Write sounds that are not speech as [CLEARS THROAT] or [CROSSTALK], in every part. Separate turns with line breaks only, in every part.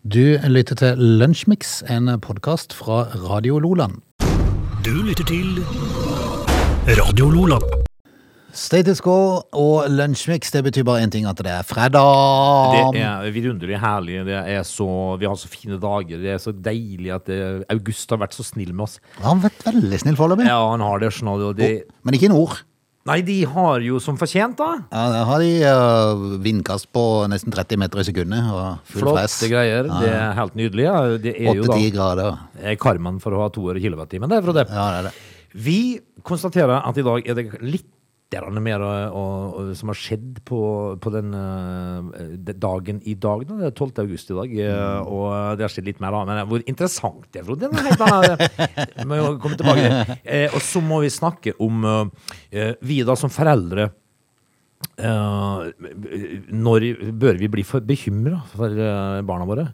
Du lytter til Lunsjmix, en podkast fra Radio Loland.
Du lytter til Radio Lola.
Status quo og Lunsjmix, det betyr bare én ting, at det er fredag.
Det er vidunderlig herlig. Det er så, vi har så fine dager. Det er så deilig at det, August har vært så snill med oss.
Han har vært veldig snill foreløpig.
Ja, han har det. Sånn, og det
Men ikke i nord.
nei, de har jo som fortjent, da.
Ja, der har de eh, vindkast på nesten 30 meter i sekundet og full fress.
Flotte greier. Det er helt nydelig. Ja. Det er jo da
8-10 grader.
eh, karmaen for å ha to øre kilowattimen. Det er fra det.
Ja, det er det.
Vi konstaterer at i dag er det litt grann mer eh, å- å- som har skjedd på, på den eh, de- dagen i dag. Da. Det er 12. august i dag, eh, og det har skjedd litt mer. da. Men eh, hvor interessant det er, Frode! Det er helt annet. Vi må jo komme tilbake til det. Eh, Og så må vi snakke om eh, vi da som foreldre. eh, når bør vi bli bekymra for eh, barna våre?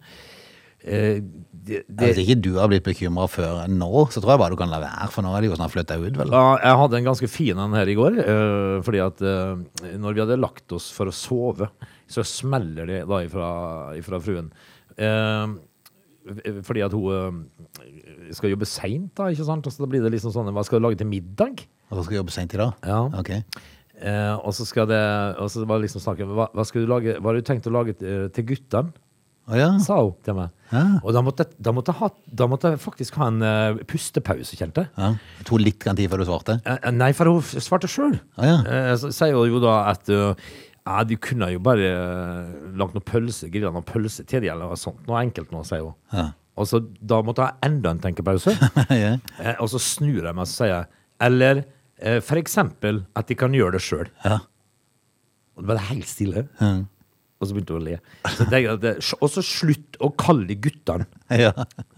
Eh, det, det,
Hvis ikke du har blitt bekymra før nå, så tror jeg bare du kan la være, for nå er de jo snart flytta ut, vel.
Ja, jeg hadde en ganske fin en her i går, eh, fordi at eh, når vi hadde lagt oss for å sove, så smeller det da ifra, ifra fruen. Eh, fordi at hun eh, skal jobbe seint, da, ikke sant? Og så da blir det liksom sånn Hva skal du lage til middag?
Og så skal jeg jobbe seint i dag.
Ja.
Ok.
Eh, og så skal det Og så var det liksom snakk om hva, hva, skal du lage, hva har du tenkt å lage eh, til guttene?
Å ja.
sa hun til meg.
Ja.
Og da måtte, jeg- da, måtte jeg ha, da måtte jeg faktisk ha en eh, pustepause, kjente jeg.
ja. Det tok litt grann tid før du svarte.
Eh, Nei, for hun f- svarte sjøl.
Å, ja.
Så Eh, altså, sier hun jo da at eh, ja, du kunne jo bare eh, lagt noen pølse, grilla noen pølse til de, eller noe sånt. Noe enkelt nå, sier hun.
Ja.
Og så da måtte jeg ha enda
[LAUGHS]
en tenkepause.
ja.
Eh, og så snur jeg meg og sier jeg, eller eh, for eksempel at de kan gjøre det sjøl.
Ja.
Og det ble det helt stille.
Mm.
Og så begynte hun å le. Så tenkte jeg at det- Og så slutt å kalle de guttene
[LAUGHS] ja.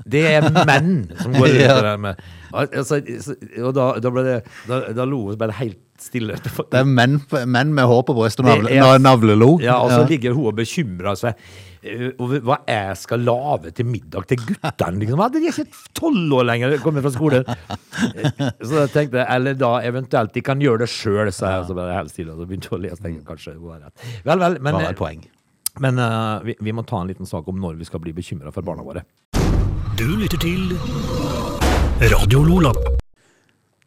det er menn som går rundt
[LAUGHS] Ja.
der med Al- altså, så- Og da, da ble det Da, da lo hun bare helt stille.
Det er menn, menn med hår på brystet og
Det
navle,
er-
na- navlelo.
Ja, altså, og så
Oh, Ja.
ligger hun og bekymrer seg eh, over hva jeg skal lage til middag til guttene. Liksom. Hadde de er ikke tolv år lenger, kommet fra skolen. Eh, Så da tenkte jeg, eller da eventuelt de kan gjøre det sjøl, sa jeg. Og så ble det helt stille, og så begynte hun å lese. Tenkte, jeg, kanskje hun har rett. Vel, vel, men,
Bare et poeng.
men eh, vi, vi må ta en liten sak om når vi skal bli bekymra for barna våre.
Du lytter til Radio Lola.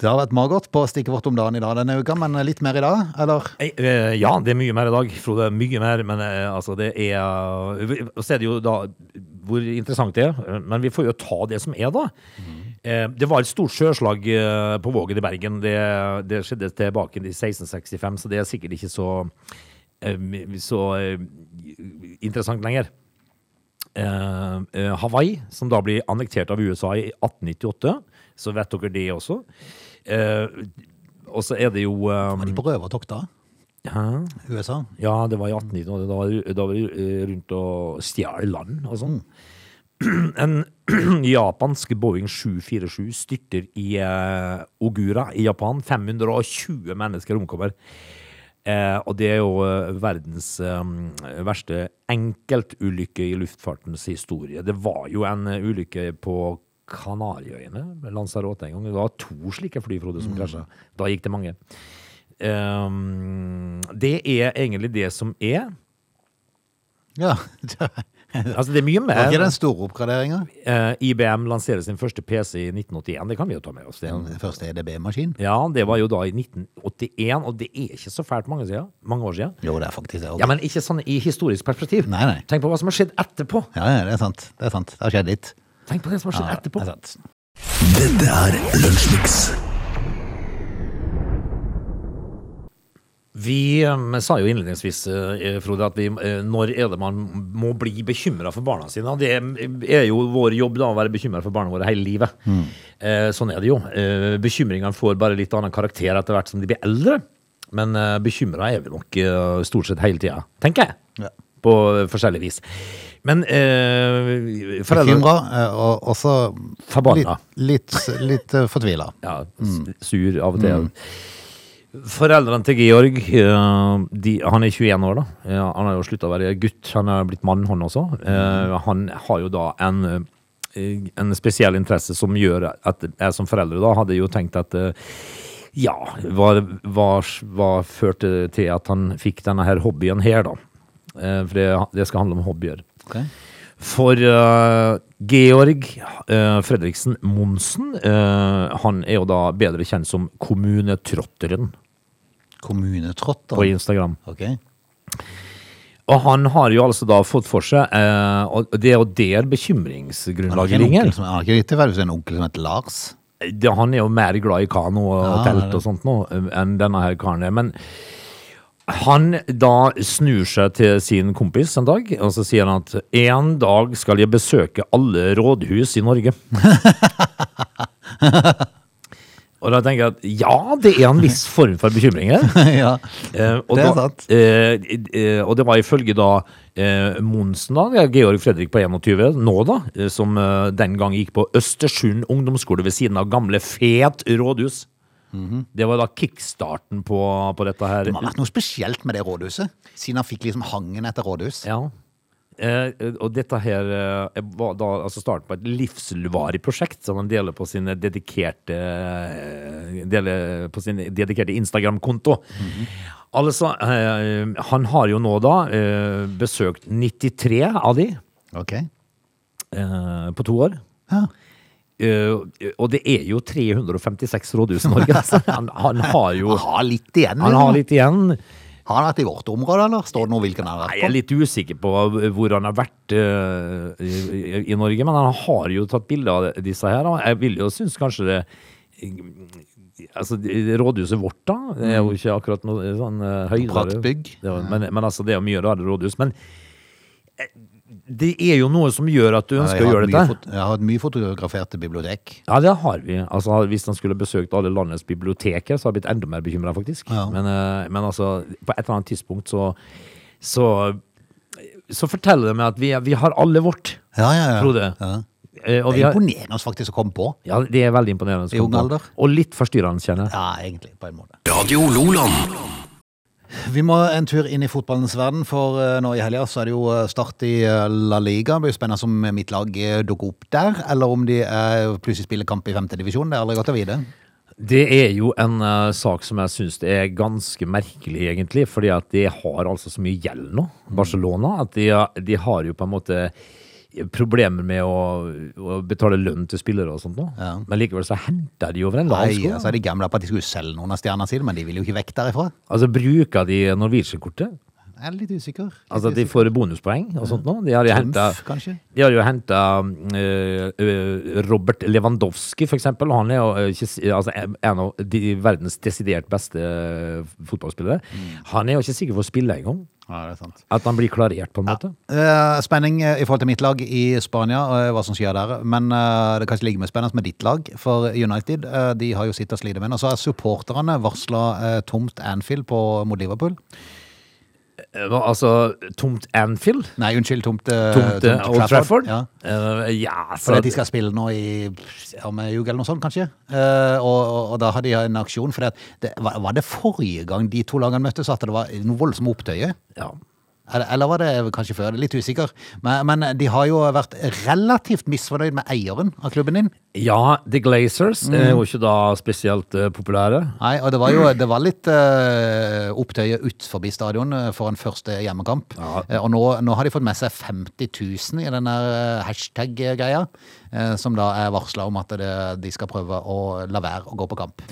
Det har vært magert på stikket vårt om dagen i dag denne uka, men litt mer i dag, eller?
Nei, eh, Ja, det er mye mer i dag, Frode. Mye mer. Men eh, altså, det er eh, Og så er det jo da hvor interessant det er. eh, Men vi får jo ta det som er, da. Eh, Det var et stort sjøslag eh, på Vågen i Bergen. Det, det skjedde tilbake i 1665, så det er sikkert ikke så eh, så eh, interessant lenger. Eh, eh, Hawaii, som da blir annektert av USA i 1898. Så vet dere det også. Eh, og så er det jo eh,
Var de på røvertokt da?
Hæ?
USA?
Ja, det var i 1890, da var det da var det, eh, rundt og stjal land og sånn. En [CLEARS THROAT] japansk Boeing 747 styrter i eh, Ogura i Japan. 520 mennesker omkommer. Eh, og det er jo eh, verdens eh, verste enkeltulykke i luftfartens historie. Det var jo en eh, ulykke på Kanariøyene, Lanzarote en gang. Det var to slike fly, Frode, som krasja. Da gikk det mange. Ehm, det er egentlig det som er.
Ja. Det
Altså, det er mye
[LAUGHS] var ikke
mer.
den store oppgraderingen?
Eh, IBM lanserer sin første PC i 1981. Det kan vi jo ta med oss. Det. er en-
Den første E EDB-maskin?
Ja, det var jo da i 1981, og det er ikke så fælt mange, siden, mange år siden.
Jo, det er faktisk det.
Ja, men ikke sånn i historisk perspektiv.
Nei, nei.
Tenk på hva som har skjedd etterpå.
Ja, ja, det er sant. Det er sant. Det har skjedd litt.
Tenk på det som har skjedd
Ja,
etterpå.
det er sant.
Dette er Lunsjmix.
Vi eh, sa jo innledningsvis, eh, Frode, at vi, eh, når er det man må bli bekymra for barna sine? Og Det er jo vår jobb da, å være bekymra for barna våre hele livet.
Mm.
Eh, sånn er det jo. Eh, bekymringene får bare litt annen karakter etter hvert som de blir eldre. Men eh, bekymra er vi nok eh, stort sett hele tida, tenker jeg.
Ja.
På forskjellig vis. Men eh, foreldre
Bekymra, eh, og også
Forbanna.
litt, litt, litt eh, fortvila.
ja, s- sur av og til. Foreldrene til Georg, eh, de, han er 21 år da. Eh, Han har jo sluttet å være gutt, han er blitt mann han også. Eh, Han har jo da en, eh, en spesiell interesse som gjør at jeg som foreldre da hadde jo tenkt at eh, ja, hva, hva, hva førte til at han fikk denne her hobbyen her da? Eh, For det, det skal handle om hobbyer.
Ok.
For eh, Georg eh, Fredriksen Monsen, eh, han er jo da bedre kjent som kommunetrotteren på
Kommunetrotter.
Instagram.
Ok.
Og han har jo altså da fått for seg eh, Og det er jo der
Han har
bekymringsgrunnlaget
ikke en
ligger.
onkel som- han har ikke riktig verv, en onkel som heter Lars. [LAUGHS]
det, han er jo mer glad i kano og
Ja, han er
telt
det.
og sånt nå, um, enn denne her karen er. Men han da snur seg til sin kompis en dag, og så sier han at en dag skal jeg besøke alle rådhus i
[LAUGHS]
Norge. og da tenker jeg at ja, det er en viss form for bekymring her.
ja.
Eh, og
Det er
da,
sant.
eh, eh, og det var ifølge da eh, Monsen, da, ja, Georg Fredrik på 21, nå da, eh, som eh, den gang gikk på Østersund ungdomsskole ved siden av gamle Fet rådhus.
Mhm.
Det var da kickstarten på, på dette her.
Det må ha vært noe spesielt med det rådhuset, siden han fikk liksom hangen etter rådhus.
Ja. Eh, og dette her eh, var da altså starten på et livsvarig prosjekt som han deler på sin dedikerte eh, Deler på sin dedikerte Instagram-konto.
Mhm.
Altså, eh, han har jo nå da eh, besøkt 93 av de
Ok.
eh, på to år.
Ja.
Eh, og det er jo 356 rådhus i Norge. altså.
[LAUGHS]
Han, han har jo
Han har litt igjen. liksom.
Han har litt igjen.
Har han vært i vårt område, eller? Står det noe hvilken han har
Nei, Jeg er
vært på?
litt usikker på hvor han har vært eh, i, i, i Norge, men han har jo tatt bilde av disse her. da. Jeg vil jo synes kanskje det Altså, det- rådhuset vårt, da, det er jo ikke akkurat noe sånn eh, høydere.
Mm. Praktbygg.
Det var- Men, men altså, det er jo mye rare rådhus. Men eh, det er jo noe som gjør at du
Jeg
ønsker
har
å gjøre
hatt
dette.
mye fot- Jeg har hatt mye fotograferte bibliotek.
Ja, det har vi. Altså, hvis han skulle besøkt alle landets biblioteker, så hadde jeg blitt enda mer bekymra, faktisk.
Ja.
Men, eh, men altså, på et eller annet tidspunkt så Så, så forteller det meg at vi, er- vi har alle vårt,
Ja, ja, ja.
Frode.
Ja.
Eh, og
Det
vi
er
har,
imponerende oss faktisk å komme på.
ja, det er veldig imponerende.
I ung alder.
Og litt forstyrrende, kjenner jeg.
Ja, egentlig, på en måte.
Radio Loland.
Vi må en tur inn i fotballens verden, for eh, nå i helga så er det jo eh, start i eh, La Liga. Det blir jo spennende om mitt lag eh, dukker opp der, eller om de eh, plutselig spiller kamp i femtedivisjon. Det er aldri godt å vite.
Det er jo en eh, sak som jeg syns er ganske merkelig, egentlig. Fordi at de har altså så mye gjeld nå, Barcelona, at de, de har jo på en måte problemer med å, å betale lønn til spillere og sånt nå.
Ja.
Men likevel så henter de over en lav
Nei,
sko.
så er de gamle på at de skulle selge noen av stjernene sine, men de vil jo ikke vekk derifra.
Altså bruker de Norwegian-kortet?
Jeg er litt usikker. Litt
Altså de
usikker.
får bonuspoeng og sånt nå? De har jo
Trumf,
hentet-
kanskje?
De har jo henta Robert Lewandowski, for eksempel. Han er jo eh, ikke, s- altså, en- en av de verdens desidert beste eh, fotballspillere.
Mm.
Han er jo ikke sikker for å spille engang.
Ja, det er sant.
At han blir klarert, på en måte.
Eh, Spenning eh, i forhold til mitt lag i Spania, eh, hva som skjer der. Men eh, det kan ikke ligge med spennende med ditt lag, for United eh, de har jo sitt å slite med. Og så er supporterne varsla eh, tomt Anfield på, mot Liverpool.
Eh, Altså, tomt Anfield.
Nei, unnskyld, tomt, eh,
Tomt eh, Old Trafford.
Ja.
Eh, ja så
Fordi at de skal spille nå i om en uke eller noe sånt, kanskje. Eh, og, og, og da hadde de en aksjon. For det, var, var det forrige gang de to lagene møttes at det var noe voldsomt opptøye?
ja.
Eller, eller var det kanskje før? Litt usikker. Men, men de har jo vært relativt misfornøyd med eieren av klubben din.
ja, The Glazers er
Mm.
jo ikke da spesielt eh, populære.
Nei, og det var jo det var litt eh, opptøye utenfor stadion eh, for en første hjemmekamp. Eh, og nå, nå har de fått med seg 50 000 i den der eh, hashtag-greia, eh, som da er varsla om at det, de skal prøve å la være å gå på kamp.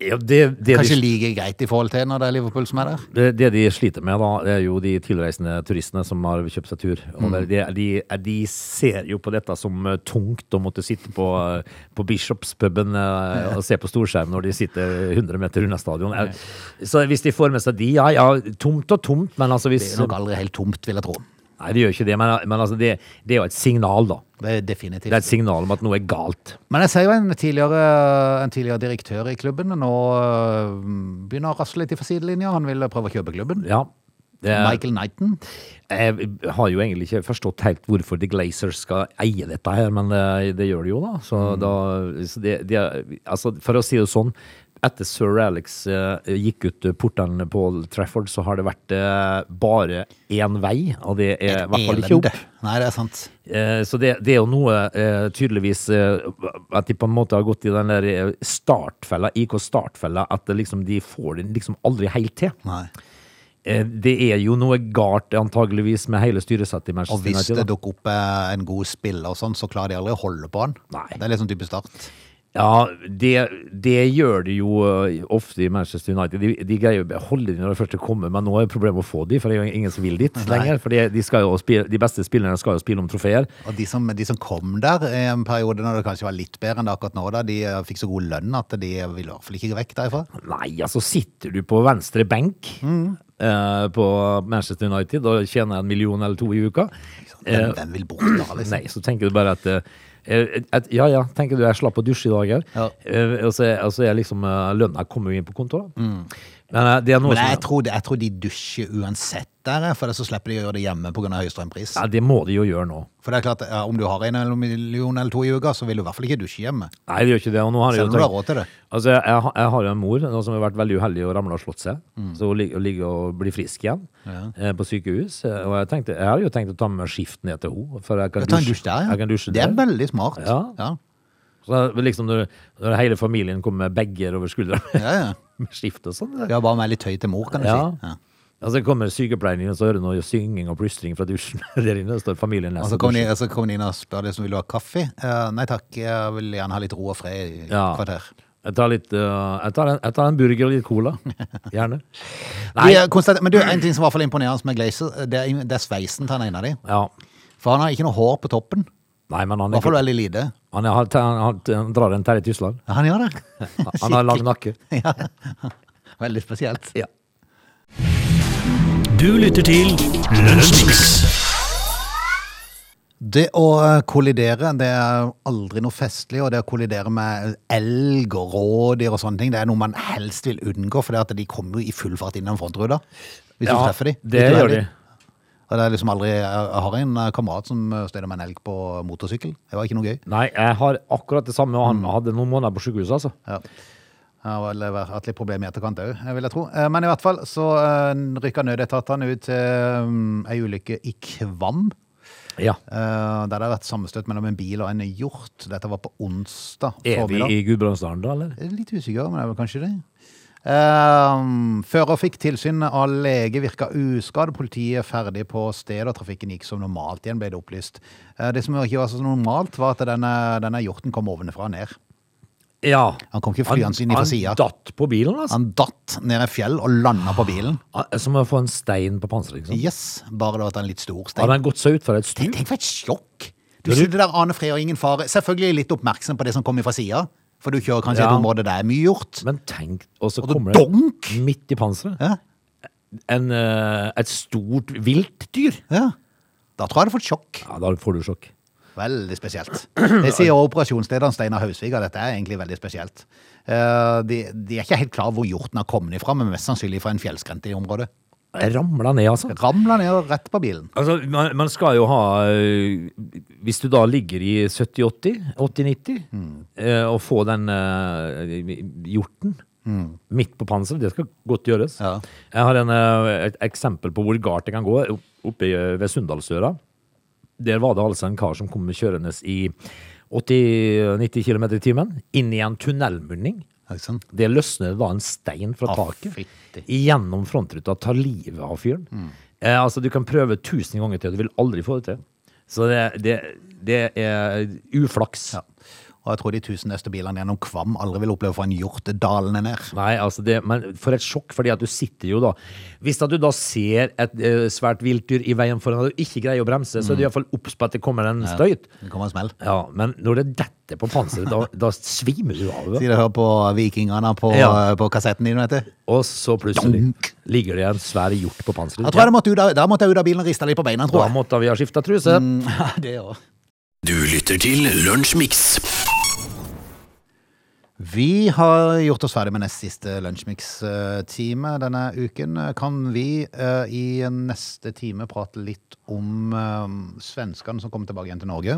Ja, det, det,
Kanskje
de,
like greit i forhold til når det er Liverpool som er der.
det, det de sliter med, da, det er jo de tilreisende turistene som har kjøpt seg tur. Og
Mm.
det- de, de, de ser jo på dette som eh, tungt å måtte sitte på, eh, på Bishops-puben eh, og se på storskjerm når de sitter 100 meter unna stadion. Eh, Så hvis de får med seg de, ja ja, tomt og tomt, men altså
Det
hvis
er nok aldri helt tomt, vil jeg tro.
Nei, det gjør ikke det, men, men altså, det, det er jo et signal, da.
Det er
Det er
definitivt.
et signal om at noe er galt.
Men jeg ser jo en tidligere, en tidligere direktør i klubben nå eh, begynner å rasle litt i for sidelinja. Han vil prøve å kjøpe klubben.
Ja. Det er,
Michael Knighton.
jeg har jo egentlig ikke forstått helt hvorfor The Glazers skal eie dette her, men eh, det gjør de jo, da. Så da så det, det er, altså, for å si det sånn, etter Sir Alex eh, gikk ut portene på Old Trafford, så har det vært eh, bare én vei, og det er i hvert fall ikke opp.
Elende. Nei, det er sant.
Eh, Så det, det er jo noe eh, tydeligvis eh, At de på en måte har gått i den der eh, startfella, IK-startfella, at det liksom, de får det liksom aldri helt til.
Nei.
eh, det er jo noe galt antageligvis med hele styresettet i
Og
Manchester
hvis
United.
det
da.
dukker opp eh, en god spiller og sånn, så klarer de aldri å holde på han.
Nei.
Det er liksom type start.
Ja, det, det gjør de jo eh, ofte i Manchester United. De, de greier jo å beholde de når de først kommer, men nå er det problemet å få de, for det er jo ingen som vil dit lenger. For de, de, skal jo spille, de beste spillerne skal jo spille om trofeer.
Og de som, de som kom der i en periode når det kanskje var litt bedre enn det akkurat nå, da, de eh, fikk så god lønn at de ville i hvert fall ikke vekk derifra.
Nei, altså sitter du på venstre benk
Mm.
eh, på Manchester United og tjener en million eller to i uka,
Hvem, hvem vil bort da, liksom?
Eh, nei, så tenker du bare at, eh, at Ja ja, tenker du jeg slapp å dusje i dag her,
Ja.
Eh, og så er- og så er liksom eh, lønna kommer jo inn på kontoret. Men eh, det er noe
Mm. Men
som
jeg tror, jeg tror de dusjer uansett der, eh, for så slipper de å gjøre det hjemme pga. høy strømpris.
ja, det må de jo gjøre nå.
For det er klart, ja, om du har en eller million eller to i uka, så vil du i hvert fall ikke dusje hjemme.
Nei, det gjør ikke det. Og nå har jeg
Selv
jo
om du har
tenkt-
råd til det.
Altså, jeg, jeg har- jeg har jo en mor nå, som har vært veldig uheldig og ramla og slått seg.
Mm.
Så hun lig- hun ligger og blir frisk igjen eh, på sykehus. Eh, Og jeg, tenkte, jeg har jo tenkt å ta med meg skift ned til henne. For jeg kan
Ta en dusj der,
Jeg kan dusje
Det er
der.
veldig smart.
Ja.
ja.
Så det er liksom når, når hele familien kommer med bager over skuldra
ja, ja.
[LAUGHS] med skift og sånn. det-
Ja, bare med litt høy til mor, kan du
Ja.
si. Ja.
Altså kommer sykepleieren inn, og så hører du noe synging og plystring fra dusjen [LAUGHS] der inne. Og står familien
Og
leser
så kommer de,
dusjen.
så kommer de inn og spør deg som vil du ha kaffe. Eh, nei takk, jeg vil gjerne ha litt ro og fred i
Ja.
kvarter.
Jeg tar, litt, eh, jeg, tar en, jeg tar en burger og
[LAUGHS]
litt cola. Gjerne.
Du,
Nei,
jeg konstater- men du, en ting som i hvert fall er imponerende med Glazer, det er, det er sveisen til han ene av de.
ja.
For han har ikke noe hår på toppen.
Nei, men han
I
er
hvert fall veldig lite.
Han, er, han, han, han drar en Terje
[LAUGHS]
Tysland.
Ja, han gjør det.
[LAUGHS] Han har lang nakke.
[LAUGHS] ja. Veldig spesielt.
Ja.
Du lytter til Lunsjmix.
Det å eh, kollidere, det er aldri noe festlig, og det å kollidere med elg og rådyr og sånne ting, det er noe man helst vil unngå, for det at de kommer jo i full fart innom frontruta. Hvis du treffer de. Hvis du
det
er
gjør de.
heldig. Og det er liksom aldri, jeg har en eh, kamerat som støyde med en elg på motorsykkel. Det var ikke noe gøy.
Nei, jeg har akkurat det samme, og han
Mm.
hadde noen måneder på sykehuset, altså.
Ja. Jeg har vel hatt litt problemer i etterkant òg, vil jeg tro. Eh, Men i hvert fall så eh, rykka nødetatene ut til mm, ei ulykke i Kvam.
Ja.
eh, Der det har vært sammenstøt mellom en bil og en hjort. Dette var på onsdag
Er vi
formiddag.
i Gudbrandsdalen da, eller?
Jeg er Litt usikker, men det er vel kanskje det. Ehm, fører fikk tilsyn av lege, virka uskadd. Politiet er ferdig på stedet, og trafikken gikk som normalt igjen, ble det opplyst. Eh, det som ikke var så normalt, var at denne, denne hjorten kom ovenfra og ned.
Ja.
Han kom ikke flyende inn fra sida.
Han datt på bilen, altså.
Han datt ned et fjell og landa på bilen.
Han- Som å få en stein på panseret, liksom.
Yes, Bare det at han er litt stor stein.
Hadde han gått seg ut for et
Tenk,
stup?
tenk for et sjokk! Du sitter der, Ane Fred og ingen fare. Selvfølgelig litt oppmerksom på det som kommer fra sida, for du kjører kanskje i et
Ja.
område der er mye hjort.
Men tenk, og så
Og det
kommer det Mm.
donk!
midt i panseret.
Ja,
En, eh, et stort viltdyr.
ja. Da tror jeg jeg hadde fått sjokk.
Ja, da får du sjokk.
Veldig
[CLEARS THROAT]
spesielt. Det sier også operasjonslederen Steinar Hausvig, og dette er egentlig veldig spesielt. Eh, De, de er ikke helt klar hvor hjorten har kommet ifra, men mest sannsynlig fra en fjellskrent i området.
Jeg ramla ned, altså.
Ramla ned og rett på bilen.
Altså, man, man skal jo ha ø, Hvis du da ligger i 70-80, 80-90, ø, og få den ø, hjorten midt på panseret, det skal godt gjøres.
Ja.
Jeg har en, ø, et eksempel på hvor galt det kan gå eh, opp- oppe i- ved Sunndalsøra. Der var det altså en kar som kom kjørende i 80-90 km i timen inn i en tunnelmunning.
Ikke sant?
Det løsner da en stein fra
Å,
taket
Ah, fytti. Mm.
gjennom frontruta, tar livet av fyren. Eh, altså, du kan prøve tusen ganger til, og du vil aldri få det til. Så det, det, det er uflaks.
Ja. Og jeg tror de tusen neste bilene gjennom Kvam aldri vil oppleve å få en hjort dalende ned.
Nei, altså det, men for et sjokk, fordi at du sitter jo da Hvis at du da ser et eh, svært viltdyr i veien foran deg og ikke greier å bremse,
Mm.
så er du iallfall obs på at det kommer en støyt.
Det kommer en smell.
Ja, Men når det detter på panseret, da, da svimer du
[LAUGHS]
av.
Sier du hører på vikingene på, eh,
Ja.
på kassetten din, vet du.
Og så plutselig ligger det en svær hjort på panseret.
Jeg tror jeg måtte ut av, da måtte jeg ut av bilen og rista litt på beina, tror
Da
jeg.
måtte vi ha skifta
Mm.
truse.
[LAUGHS] Ja, det også.
Du lytter til Lunsjmix.
Vi har gjort oss ferdig med nest siste lunsjmix-time denne uken. Kan vi eh, i neste time prate litt om eh, svenskene som kom tilbake igjen til Norge?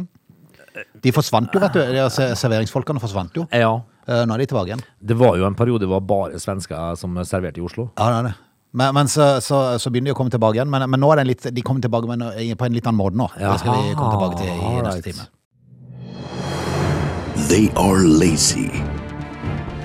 De forsvant jo, vet du. De se- serveringsfolkene forsvant jo.
Ja.
Eh, Nå er de tilbake igjen.
Det var jo en periode det var bare svensker som serverte i Oslo.
Ja, det er det. Men, men så, så, så begynner de å komme tilbake igjen. Men, men nå er det en litt, de kommer tilbake med, noe- på en litt annen måte nå. Det skal vi komme tilbake til i
Jaha,
neste
alright.
time.
They are lazy.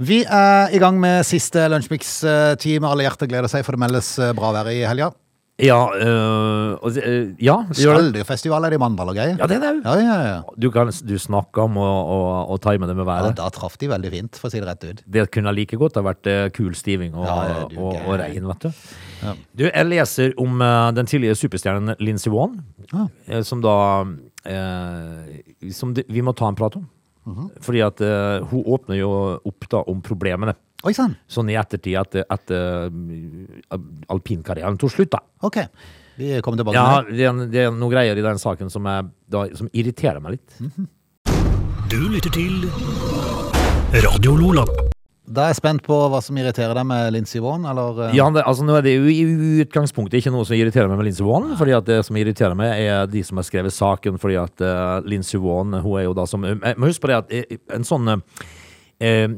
Vi er i gang med siste lunsjmix-time. Alle hjerter gleder seg, for det meldes eh, bra vær i helga.
Ja, øh, og det- øh, ja, det gjør det.
Skalldyfestival er det i Mandal og greier.
Ja, det er det jo.
Ja, ja, ja.
Du, kan, du snakker om å, å, å time det med
ja,
været.
da traff de veldig fint, for å si det rett ut.
Det kunne like godt ha vært eh, kul stiving og,
Ja, du
og, og
gæren.
regn, vet du. Du, jeg leser om eh, den tidligere superstjernen Lincy Wan,
Ah.
eh, som da eh, Som det- vi må ta en prat om.
Mhm.
Fordi at eh, hun åpner jo opp da om problemene.
Oi sann.
Sånn i ettertid etter, etter alpinkarrieren tok slutt, da.
Ok. Vi kommer tilbake.
Ja,
med
det er, det er noen greier i den saken som, jeg, da, som irriterer meg litt.
Du lytter til Radio Lola.
det. Da er jeg spent på hva som irriterer deg med Lincy Vaughan, eller eh,
Ja, det, altså nå er det jo i utgangspunktet ikke noe som irriterer meg med Lindsey Vonn, fordi at det som irriterer meg er de som har skrevet saken, fordi at uh, Lindsey Vonn, hun er jo da som eh, Men husk på det at eh, en sånn eh,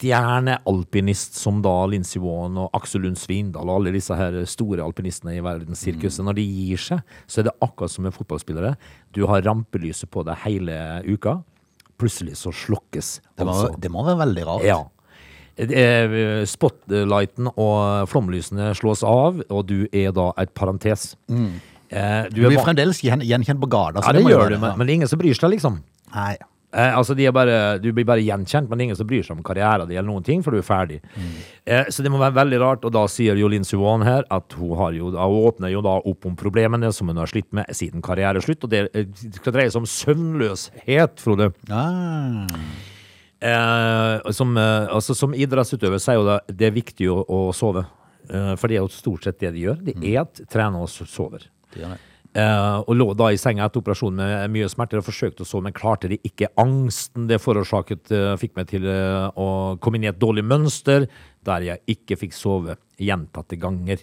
idrettsstjernealpinist som da Lindsey Vonn og Aksel Lund Svindal og alle disse her store alpinistene i
Mm.
verdenssirkuset, når de gir seg, så er det akkurat som med fotballspillere. Du har rampelyset på deg hele uka. Plutselig så slokkes.
det, må,
altså.
det må være veldig rart.
Ja. Eh, Spotlighten og flomlysene slås av, og du er da et parentes. Eh, Du
Du
er
blir
van-
fremdeles gjen, gjenkjent på gata. så
ja, det
må jo
gjør
være-
du, men, men det er ingen som bryr seg, liksom.
Nei.
Eh, altså, de er bare, du blir bare gjenkjent, men det er ingen som bryr seg om karrieren din eller noen ting, for du er ferdig. Eh, så det må være veldig rart, og da sier jo Linn Suwan her at hun, har jo, da- hun åpner jo da opp om problemene som hun har slitt med siden karriereslutt, og det eh, skal dreie seg om søvnløshet, Frode.
Ah.
Eh, som, eh, altså, som idrettsutøver så er jo det, det er viktig å, å sove. Eh, for det er jo stort sett det de gjør. Det er at trener og sover.
Det gjør det.
Eh, og lå da i senga etter operasjonen med mye smerter og forsøkte å sove, men klarte det ikke. Angsten det forårsaket eh, fikk meg til eh, å komme inn i et dårlig mønster, der jeg ikke fikk sove gjentatte ganger.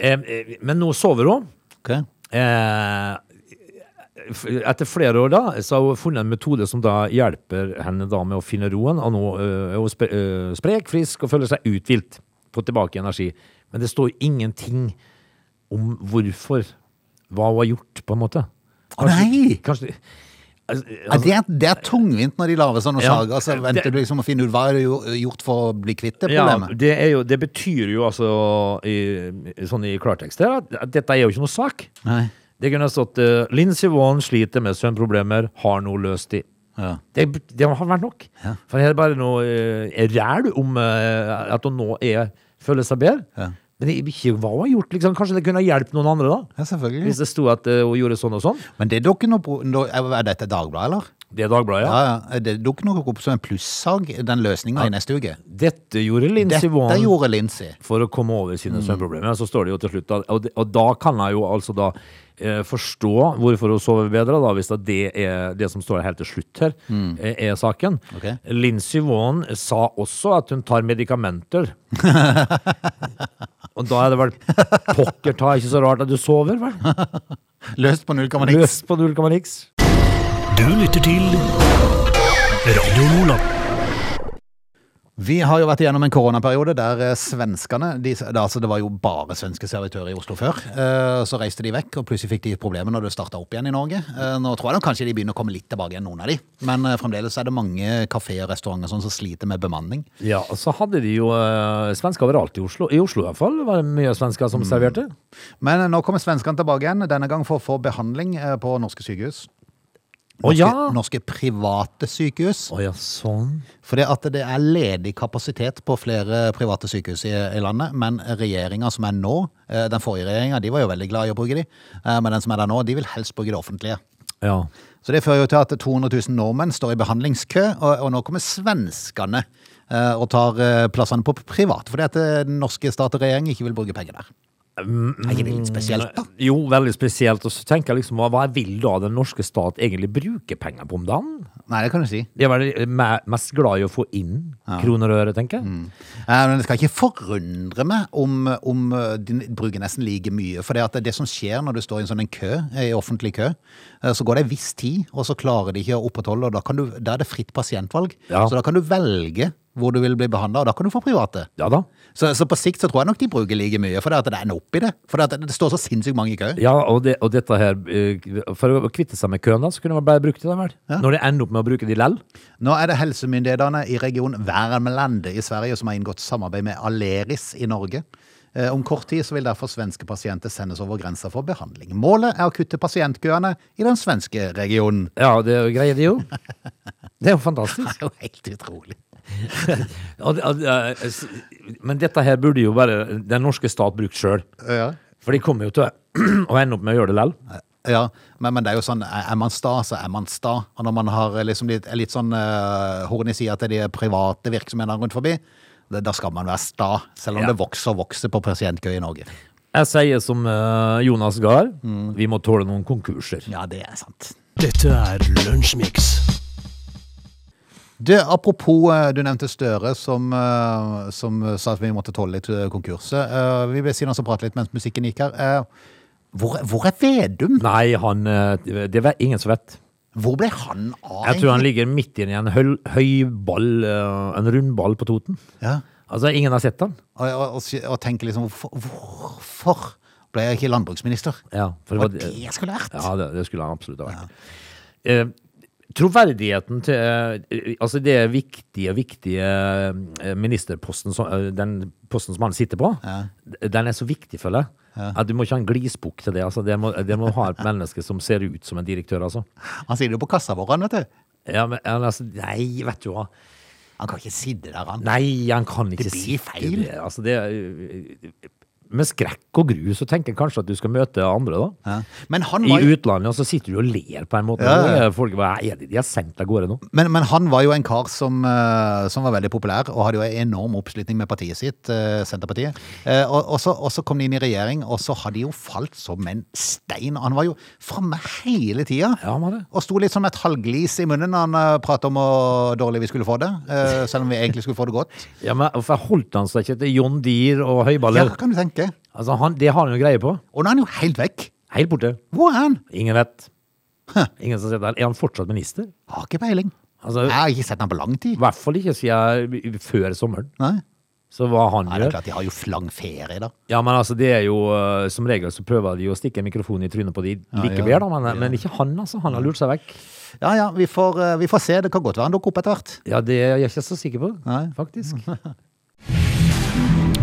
Eh, eh, men nå sover hun.
Ok.
Eh, f- etter flere år da, så har hun funnet en metode som da hjelper henne da med å finne roen, og nå eh, er hun spre- eh, sprek, frisk og føler seg utvilt. Fått tilbake energi. Men det står ingenting om hvorfor, hva hun har gjort, på en måte.
Å, nei!
Kanskje, altså,
Ja, det, er, det er tungvint når de lager sånne
Ja.
sager. Så venter
Det-
du liksom å finne ut hva er det jo gjort for å bli kvitt det
ja,
problemet.
det, er jo, det betyr jo altså, i, sånn i klartekst, her, at- at dette er jo ikke noe sak.
Nei.
Det kunne ha stått uh, Linn Sivon sliter med søvnproblemer, har nå løst de.
Ja.
Det, det har vært nok.
Ja.
For her er det bare noe eh, ræl om eh, at hun nå er, føler seg bedre.
Ja.
Men det, er ikke hva hun har gjort, liksom. Kanskje det kunne ha hjulpet noen andre, da?
Ja, selvfølgelig.
Hvis det sto at eh, hun gjorde sånn og sånn.
Men det dukker noe pro- nå- Er dette Dagbladet, eller?
Det er Dagbladet, ja.
Ja, ja. Det dukker nok opp som en plussag, den løsninga i neste uke.
Dette gjorde Linn
Dette
Sivon
gjorde Lincy.
for å komme over sine søvnproblemer. Så står det jo til slutt da, og, det- og da kan jeg jo altså da eh, forstå hvorfor hun sover bedre, da, hvis da det er det som står helt til slutt her, eh, er saken.
Ok.
Linn Sivon sa også at hun tar [LAUGHS] medikamenter. og da er det vel pokker ta, ikke så rart at du sover, [LAUGHS] vel?
Løst på null komma niks.
Løs på null komma niks.
Du lytter til Radio Lola.
Vi har jo vært igjennom en koronaperiode der eh, svenskene de, det- altså Det var jo bare svenske servitører i Oslo før. Eh, Så reiste de vekk, og plutselig fikk de problemer når det starta opp igjen i Norge. Eh, Nå tror jeg nok kanskje de begynner å komme litt tilbake igjen, noen av de. Men eh, fremdeles er det mange kafeer og restauranter sånn som sliter med bemanning.
Ja, og så hadde de jo eh, svensker overalt i Oslo. I Oslo i hvert fall var det mye svensker som serverte.
Men eh, nå kommer svenskene tilbake igjen, denne gang for å få behandling eh, på norske sykehus.
Å ja!
Norske- Norske private sykehus.
Å ja, sånn.
For det at det er ledig kapasitet på flere private sykehus i, i landet, men regjeringa som er nå, eh, den forrige regjeringa, de var jo veldig glad i å bruke de, eh, men den som er der nå, de vil helst bruke det offentlige.
Ja.
Så det fører jo til at 200 000 nordmenn står i behandlingskø, og, og nå kommer svenskene eh, og tar eh, plassene på privat, fordi at eh, den norske stat og regjering ikke vil bruke penger der. Er ikke det litt spesielt, da?
Jo, veldig spesielt. Og så tenker jeg liksom, hva vil da den norske stat egentlig bruke penger på om dagen?
Nei, det kan du si.
De er vel me- mest glad i å få inn kroner og øre, tenker jeg.
Eh, Men det skal ikke forundre meg om, om eh, de bruker nesten like mye. For det, at det som skjer når du står i en sånn en kø, eh, i offentlig kø, eh, så går det en viss tid, og så klarer de ikke å opprettholde, og da, kan du, da er det fritt pasientvalg.
Ja.
Så da kan du velge hvor du vil bli behandla, og da kan du få private.
Ja da.
Så, så på sikt så tror jeg nok de bruker like mye, for det, at det er noe oppi det. For det, at det står så sinnssykt mange i kø.
Ja, og, det, og dette her eh, For å kvitte seg med køen, da, så kunne man bare brukt det, vel? Når de ender opp med å bruke de lell.
Nå er det helsemyndighetene i region Värmland i Sverige som har inngått samarbeid med Aleris i Norge. Eh, Om kort tid så vil derfor svenske pasienter sendes over grensa for behandling. Målet er å kutte pasientkøene i den svenske regionen.
Ja, det greier de jo. Det er jo fantastisk.
Det er jo helt utrolig.
Og det- og det er- s- Men dette her burde jo bare den norske stat brukt sjøl.
Ja,
For de kommer jo til å [CLEARS THROAT] å ende opp med å gjøre det lell.
ja men, men det er jo sånn, er er man sta, så er man sta. Og når man har liksom litt, er litt sånn eh, horn i sida til de private virksomhetene rundt forbi, da da skal man være sta, selv om
Ja.
det vokser og vokser på pasientkø i Norge.
Jeg sier som eh, Jonas Gahr,
Mm.
vi må tåle noen konkurser.
Ja, det er sant.
Dette er Lunsjmix.
Du, apropos eh, du nevnte Støre, som, eh, som sa at vi måtte tåle litt eh, konkurser. Eh, Vi vil si noe som prater litt mens musikken gikk her. Eh, Hvor, hvor er Vedum?
Nei, han eh, Det vet ingen som vet.
Hvor ble han av?
Jeg tror han ligger midt inni en høl, høy ball, eh, en rund ball på Toten.
ja.
Altså, ingen har sett han.
og, og, og, si- og tenker liksom, hvorfor, hvorfor ble jeg ikke landbruksminister?
Ja, for
Hva
det var-
det jeg skulle vært?
Ja, det, det skulle han absolutt ha vært. Eh, troverdigheten til eh, Altså det viktige, viktige eh, ministerposten som, eh, Den posten som han sitter på, d- den er så viktig, føler jeg. At du må ikke ha en glisbukk til det. Altså. Det, må, det må ha et menneske som ser ut som en direktør, altså.
Han sitter jo på kassa vår, han, vet du.
Ja, men, ja, men altså nei, vet du hva.
Han kan ikke sitte der, han.
Nei, han kan ikke
Det blir
sitte
feil.
der. Altså, det, eh, med skrekk og gru så tenker jeg kanskje at du skal møte andre, da.
Ja. Men, han
I
var jo,
utlandet, og så sitter du og ler på en måte.
Ja, ja, ja.
Og Folk bare, er det de har sendt av gårde nå?
men, men han var jo en kar som, eh, som var veldig populær, og hadde jo en enorm oppslutning med partiet sitt, eh, Senterpartiet. Eh, Og, og, så, og så kom de inn i regjering, og så hadde de jo falt som en stein. Han var jo framme hele tida.
Ja, han var det.
Og sto litt som et halvglis i munnen når han eh, pratet om hvor dårlig vi skulle få det. eh, Selv om vi egentlig skulle få det godt.
Ja, men Hvorfor holdt han seg ikke til John Deere og
Ja,
høyballer?
kan du tenke.
Altså, han, Det har han jo greie på.
Og nå er han jo helt vekk.
Helt borte.
Hvor er han?
Ingen vet. Ingen som sitter der. Er han fortsatt minister?
Har ikke peiling.
Altså-
Jeg har ikke sett han på lang
I
tid.
hvert fall ikke siden før sommeren.
Nei.
Så hva han
Nei, det er
gjør
klart, de har jo lang ferie, da.
Ja, men altså, det er jo eh, Som regel så prøver de å stikke mikrofonen i trynet på de likevel,
ja.
da. Men, men ikke han, altså. Han har lurt seg vekk.
Ja ja, vi får, eh, vi får se. Det kan godt være han dukker opp etter hvert.
Ja, det er jeg ikke så sikker på,
Nei.
faktisk. [LAUGHS]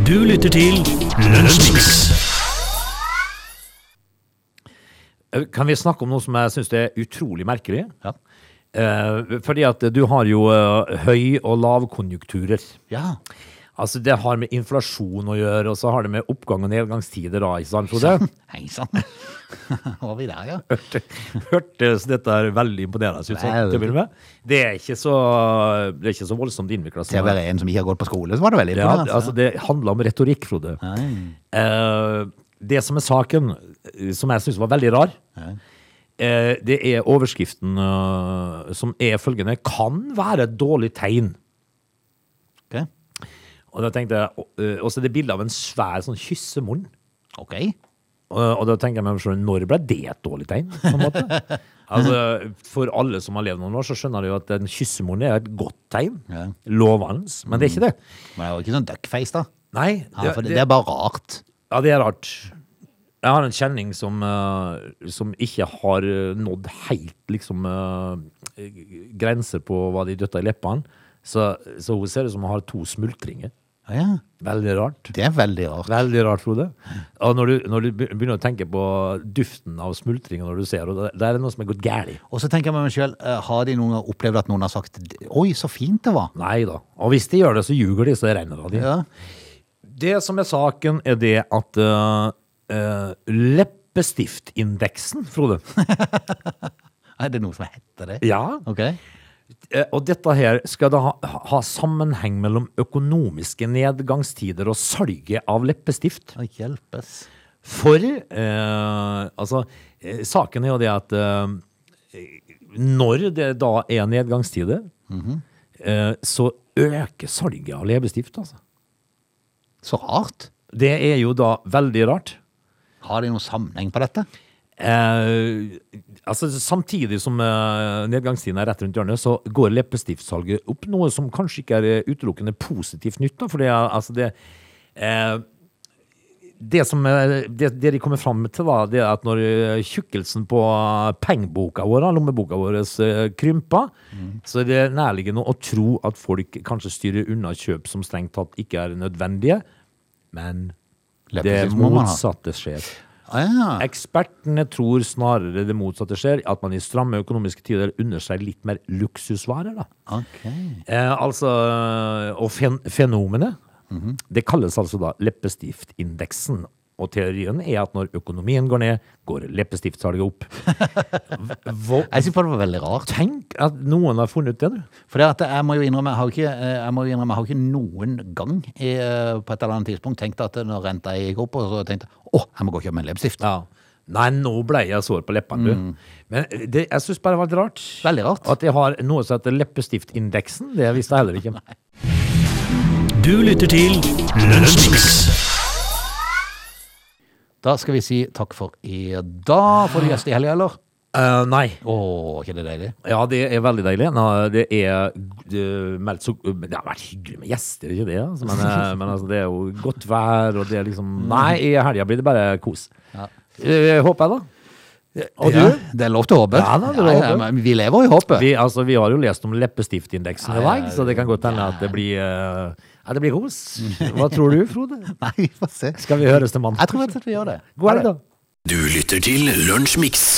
Du lytter til Lunsjmix.
Eh, Kan vi snakke om noe som jeg syns er utrolig merkelig?
Ja.
Eh, fordi at du har jo eh, høy- og lavkonjunkturer.
Ja.
Altså Det har med inflasjon å gjøre, og så har det med oppgang- og nedgangstider da, ikke sant, [LAUGHS] Frode?
[LAUGHS] Hei sann. Var vi der, ja?
Hørtes dette er veldig imponerende ut sånn, til å begynne med. Det er ikke så, det er ikke så voldsomt innvikla.
Til å være en som ikke har gått på skole, så var det veldig
Ja,
imponerende.
altså Det handler om retorikk, Frode. Eh, det som er saken, eh, som jeg syns var veldig rar, eh, det er overskriften eh, som er følgende Kan være et dårlig tegn.
Ok.
Og da tenkte jeg, eh, Og så er det bilde av en svær sånn kyssemunn.
Ok.
Og, og da tenker jeg meg selv, når ble det et dårlig tegn? på en
[LAUGHS]
måte? altså, For alle som har levd noen år, så skjønner de jo at en kyssemunn er et godt tegn.
Ja.
Lovende. Men det er ikke det.
Men det var ikke sånn duckface, da.
Nei,
Ja, for det, det er bare rart.
Ja, det er rart. Jeg har en kjenning som, eh, som ikke har eh, nådd helt liksom, eh, grenser på hva de døtter i leppene. Så, så hun ser ut som hun har to smultringer.
Ja, ja.
Veldig rart.
Det er veldig rart.
Veldig rart, Frode. Og når du, når du be- begynner å tenke på duften av smultringer når du ser henne, da- da er det noe som er gått galt.
Og så tenker jeg meg selv, eh, har de noen gang opplevd at noen har sagt Oi, så fint det var.
Nei da. Og hvis de gjør det, så ljuger de, så det regner av dem.
Ja.
Det som er saken, er det at eh, eh, leppestiftindeksen, Frode
Er det noe som heter det?
Ja.
Ok.
Eh, Og dette her skal da ha, ha sammenheng mellom økonomiske nedgangstider og salget av leppestift.
Å, hjelpes.
For eh, altså, eh, saken er jo det at eh, når det da er nedgangstider, eh, så øker salget av leppestift, altså.
Så rart.
Det er jo da veldig rart.
Har de noen sammenheng på dette?
Eh, altså, samtidig som eh, nedgangstiden er rett rundt hjørnet, så går leppestiftsalget opp. Noe som kanskje ikke er eh, utelukkende positivt nytt. Da, for det, er, altså, det, eh, det, som, eh, det, det de kommer fram til, da, det er at når eh, tjukkelsen på eh, pengeboka vår, da, lommeboka vår, eh, krymper,
Mm.
så er det nærliggende å tro at folk kanskje styrer unna kjøp som strengt tatt ikke er nødvendige. Men det
Leppestift må man ha.
motsatte skjer.
Ah, ja.
Ekspertene tror snarere det motsatte skjer, at man i stramme økonomiske tider unner seg litt mer luksusvarer. Da.
Ok.
Eh, altså, og fen fenomenet,
Mhm.
det kalles altså da leppestiftindeksen. Og teorien er at når økonomien går ned, går leppestiftsalget
[LAUGHS]
opp. Hva,
Jeg syns bare det var veldig rart.
tenk at noen har funnet det, du.
For det at jeg må jo innrømme, jeg har jo ikke, eh, jeg må jo innrømme, jeg har jo ikke noen gang i, eh, på et eller annet tidspunkt tenkt at eh, når renta gikk opp, og så tenkte jeg å, jeg må gå og kjøpe meg en leppestift.
Ja. Nei, nå ble jeg sår på leppene, du. Men det, jeg syns bare det var litt rart.
Mm. Veldig rart.
At jeg har noe som heter leppestiftindeksen. Det visste jeg
[LAUGHS]
heller ikke.
Du lytter til Lunsjmix.
Da skal vi si takk for i dag. Får du gjest i helga, eller?
Eh, nei.
Å, ikke det deilig?
Ja, det er veldig deilig. Nå, det er eh, meldt så Det har vært hyggelig med gjester, ikke det? Altså, men eh, men altså, det er jo godt vær, og det er liksom Nei, i helga blir det bare kos. Eh, håper jeg, da. Og du?
Ja, det er lov til å håpe.
Ja, da, det er lov til å håpe.
men vi lever i håpet.
Vi, altså, vi har jo lest om leppestiftindeksen i
Nei,
dag, så det kan godt hende at det blir eh, Ja, det blir kos. Hva tror du, Frode?
Nei, vi får se.
Skal vi høres til mandag?
Jeg tror rett og slett vi gjør det.
God helg, da.
Du lytter til Lunsjmix.